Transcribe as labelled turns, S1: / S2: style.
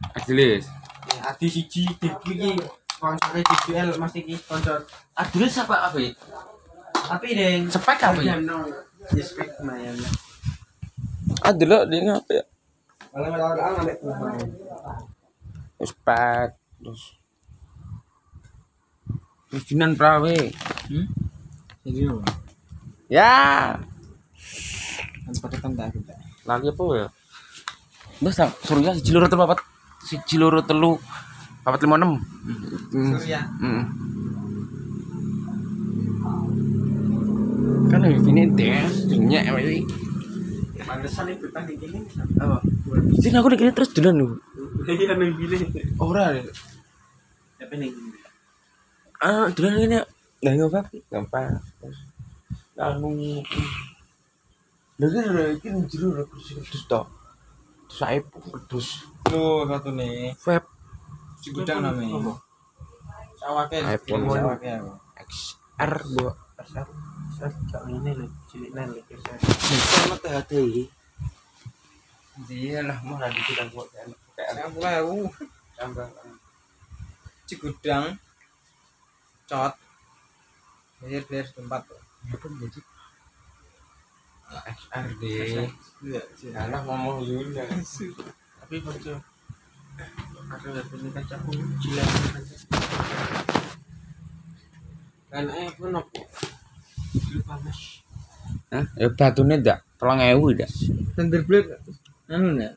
S1: Majelis.
S2: Eh, Adi siji Dib iki sponsore DBL Mas iki sponsor.
S1: Adres apa apa?
S2: Tapi deng
S1: Sepek apa ya?
S2: jam nol. Ya, spek lumayan.
S3: Ah delok dia ngapa ya?
S2: Kalau nggak tahu orang ambek kumain.
S3: Wis pet. Terus Pimpinan prawe.
S4: Hmm? Jadi apa?
S3: Ya.
S4: Kan pakai tanda kita.
S1: Lagi apa ya?
S3: Wis tak surya siji loro telu papat siji loro telu papat lima enam. Hmm.
S2: Surya.
S3: Hmm. Kan ini tes dinyak wae.
S2: Pantesan ibu tadi gini.
S3: Apa? Sini aku dikira terus dolan lho.
S2: Iya nang gini.
S3: Ora.
S2: Tapi nang gini.
S3: Ah, dolan ngene. Lah ngapa? Gampang. Lalu Lagi ada ikin jero aku sing terus to. Terus ae pedus.
S4: Lu satu nih.
S3: Web
S4: Si gudang namanya.
S2: Sawake.
S3: iPhone
S4: Sawake apa?
S3: XR bu.
S2: Pasar. Pasar cak ngene lho, cilik nang lho. pasar.
S3: Sama THT.
S2: Iya lah mau lagi kita buat kan.
S4: Aku aku.
S2: Tambah.
S4: Si gudang. Cot. Bayar bayar tempat.
S1: XR deh.
S4: Iya.
S1: Anak ngomong Yunda.
S2: Tapi bocor. Ada yang punya kacaku cilik. Kan eh pun apa? Lupa mas.
S3: Hah? Ya batune ndak 3000 ndak.
S4: Thunderbird. Anu nih.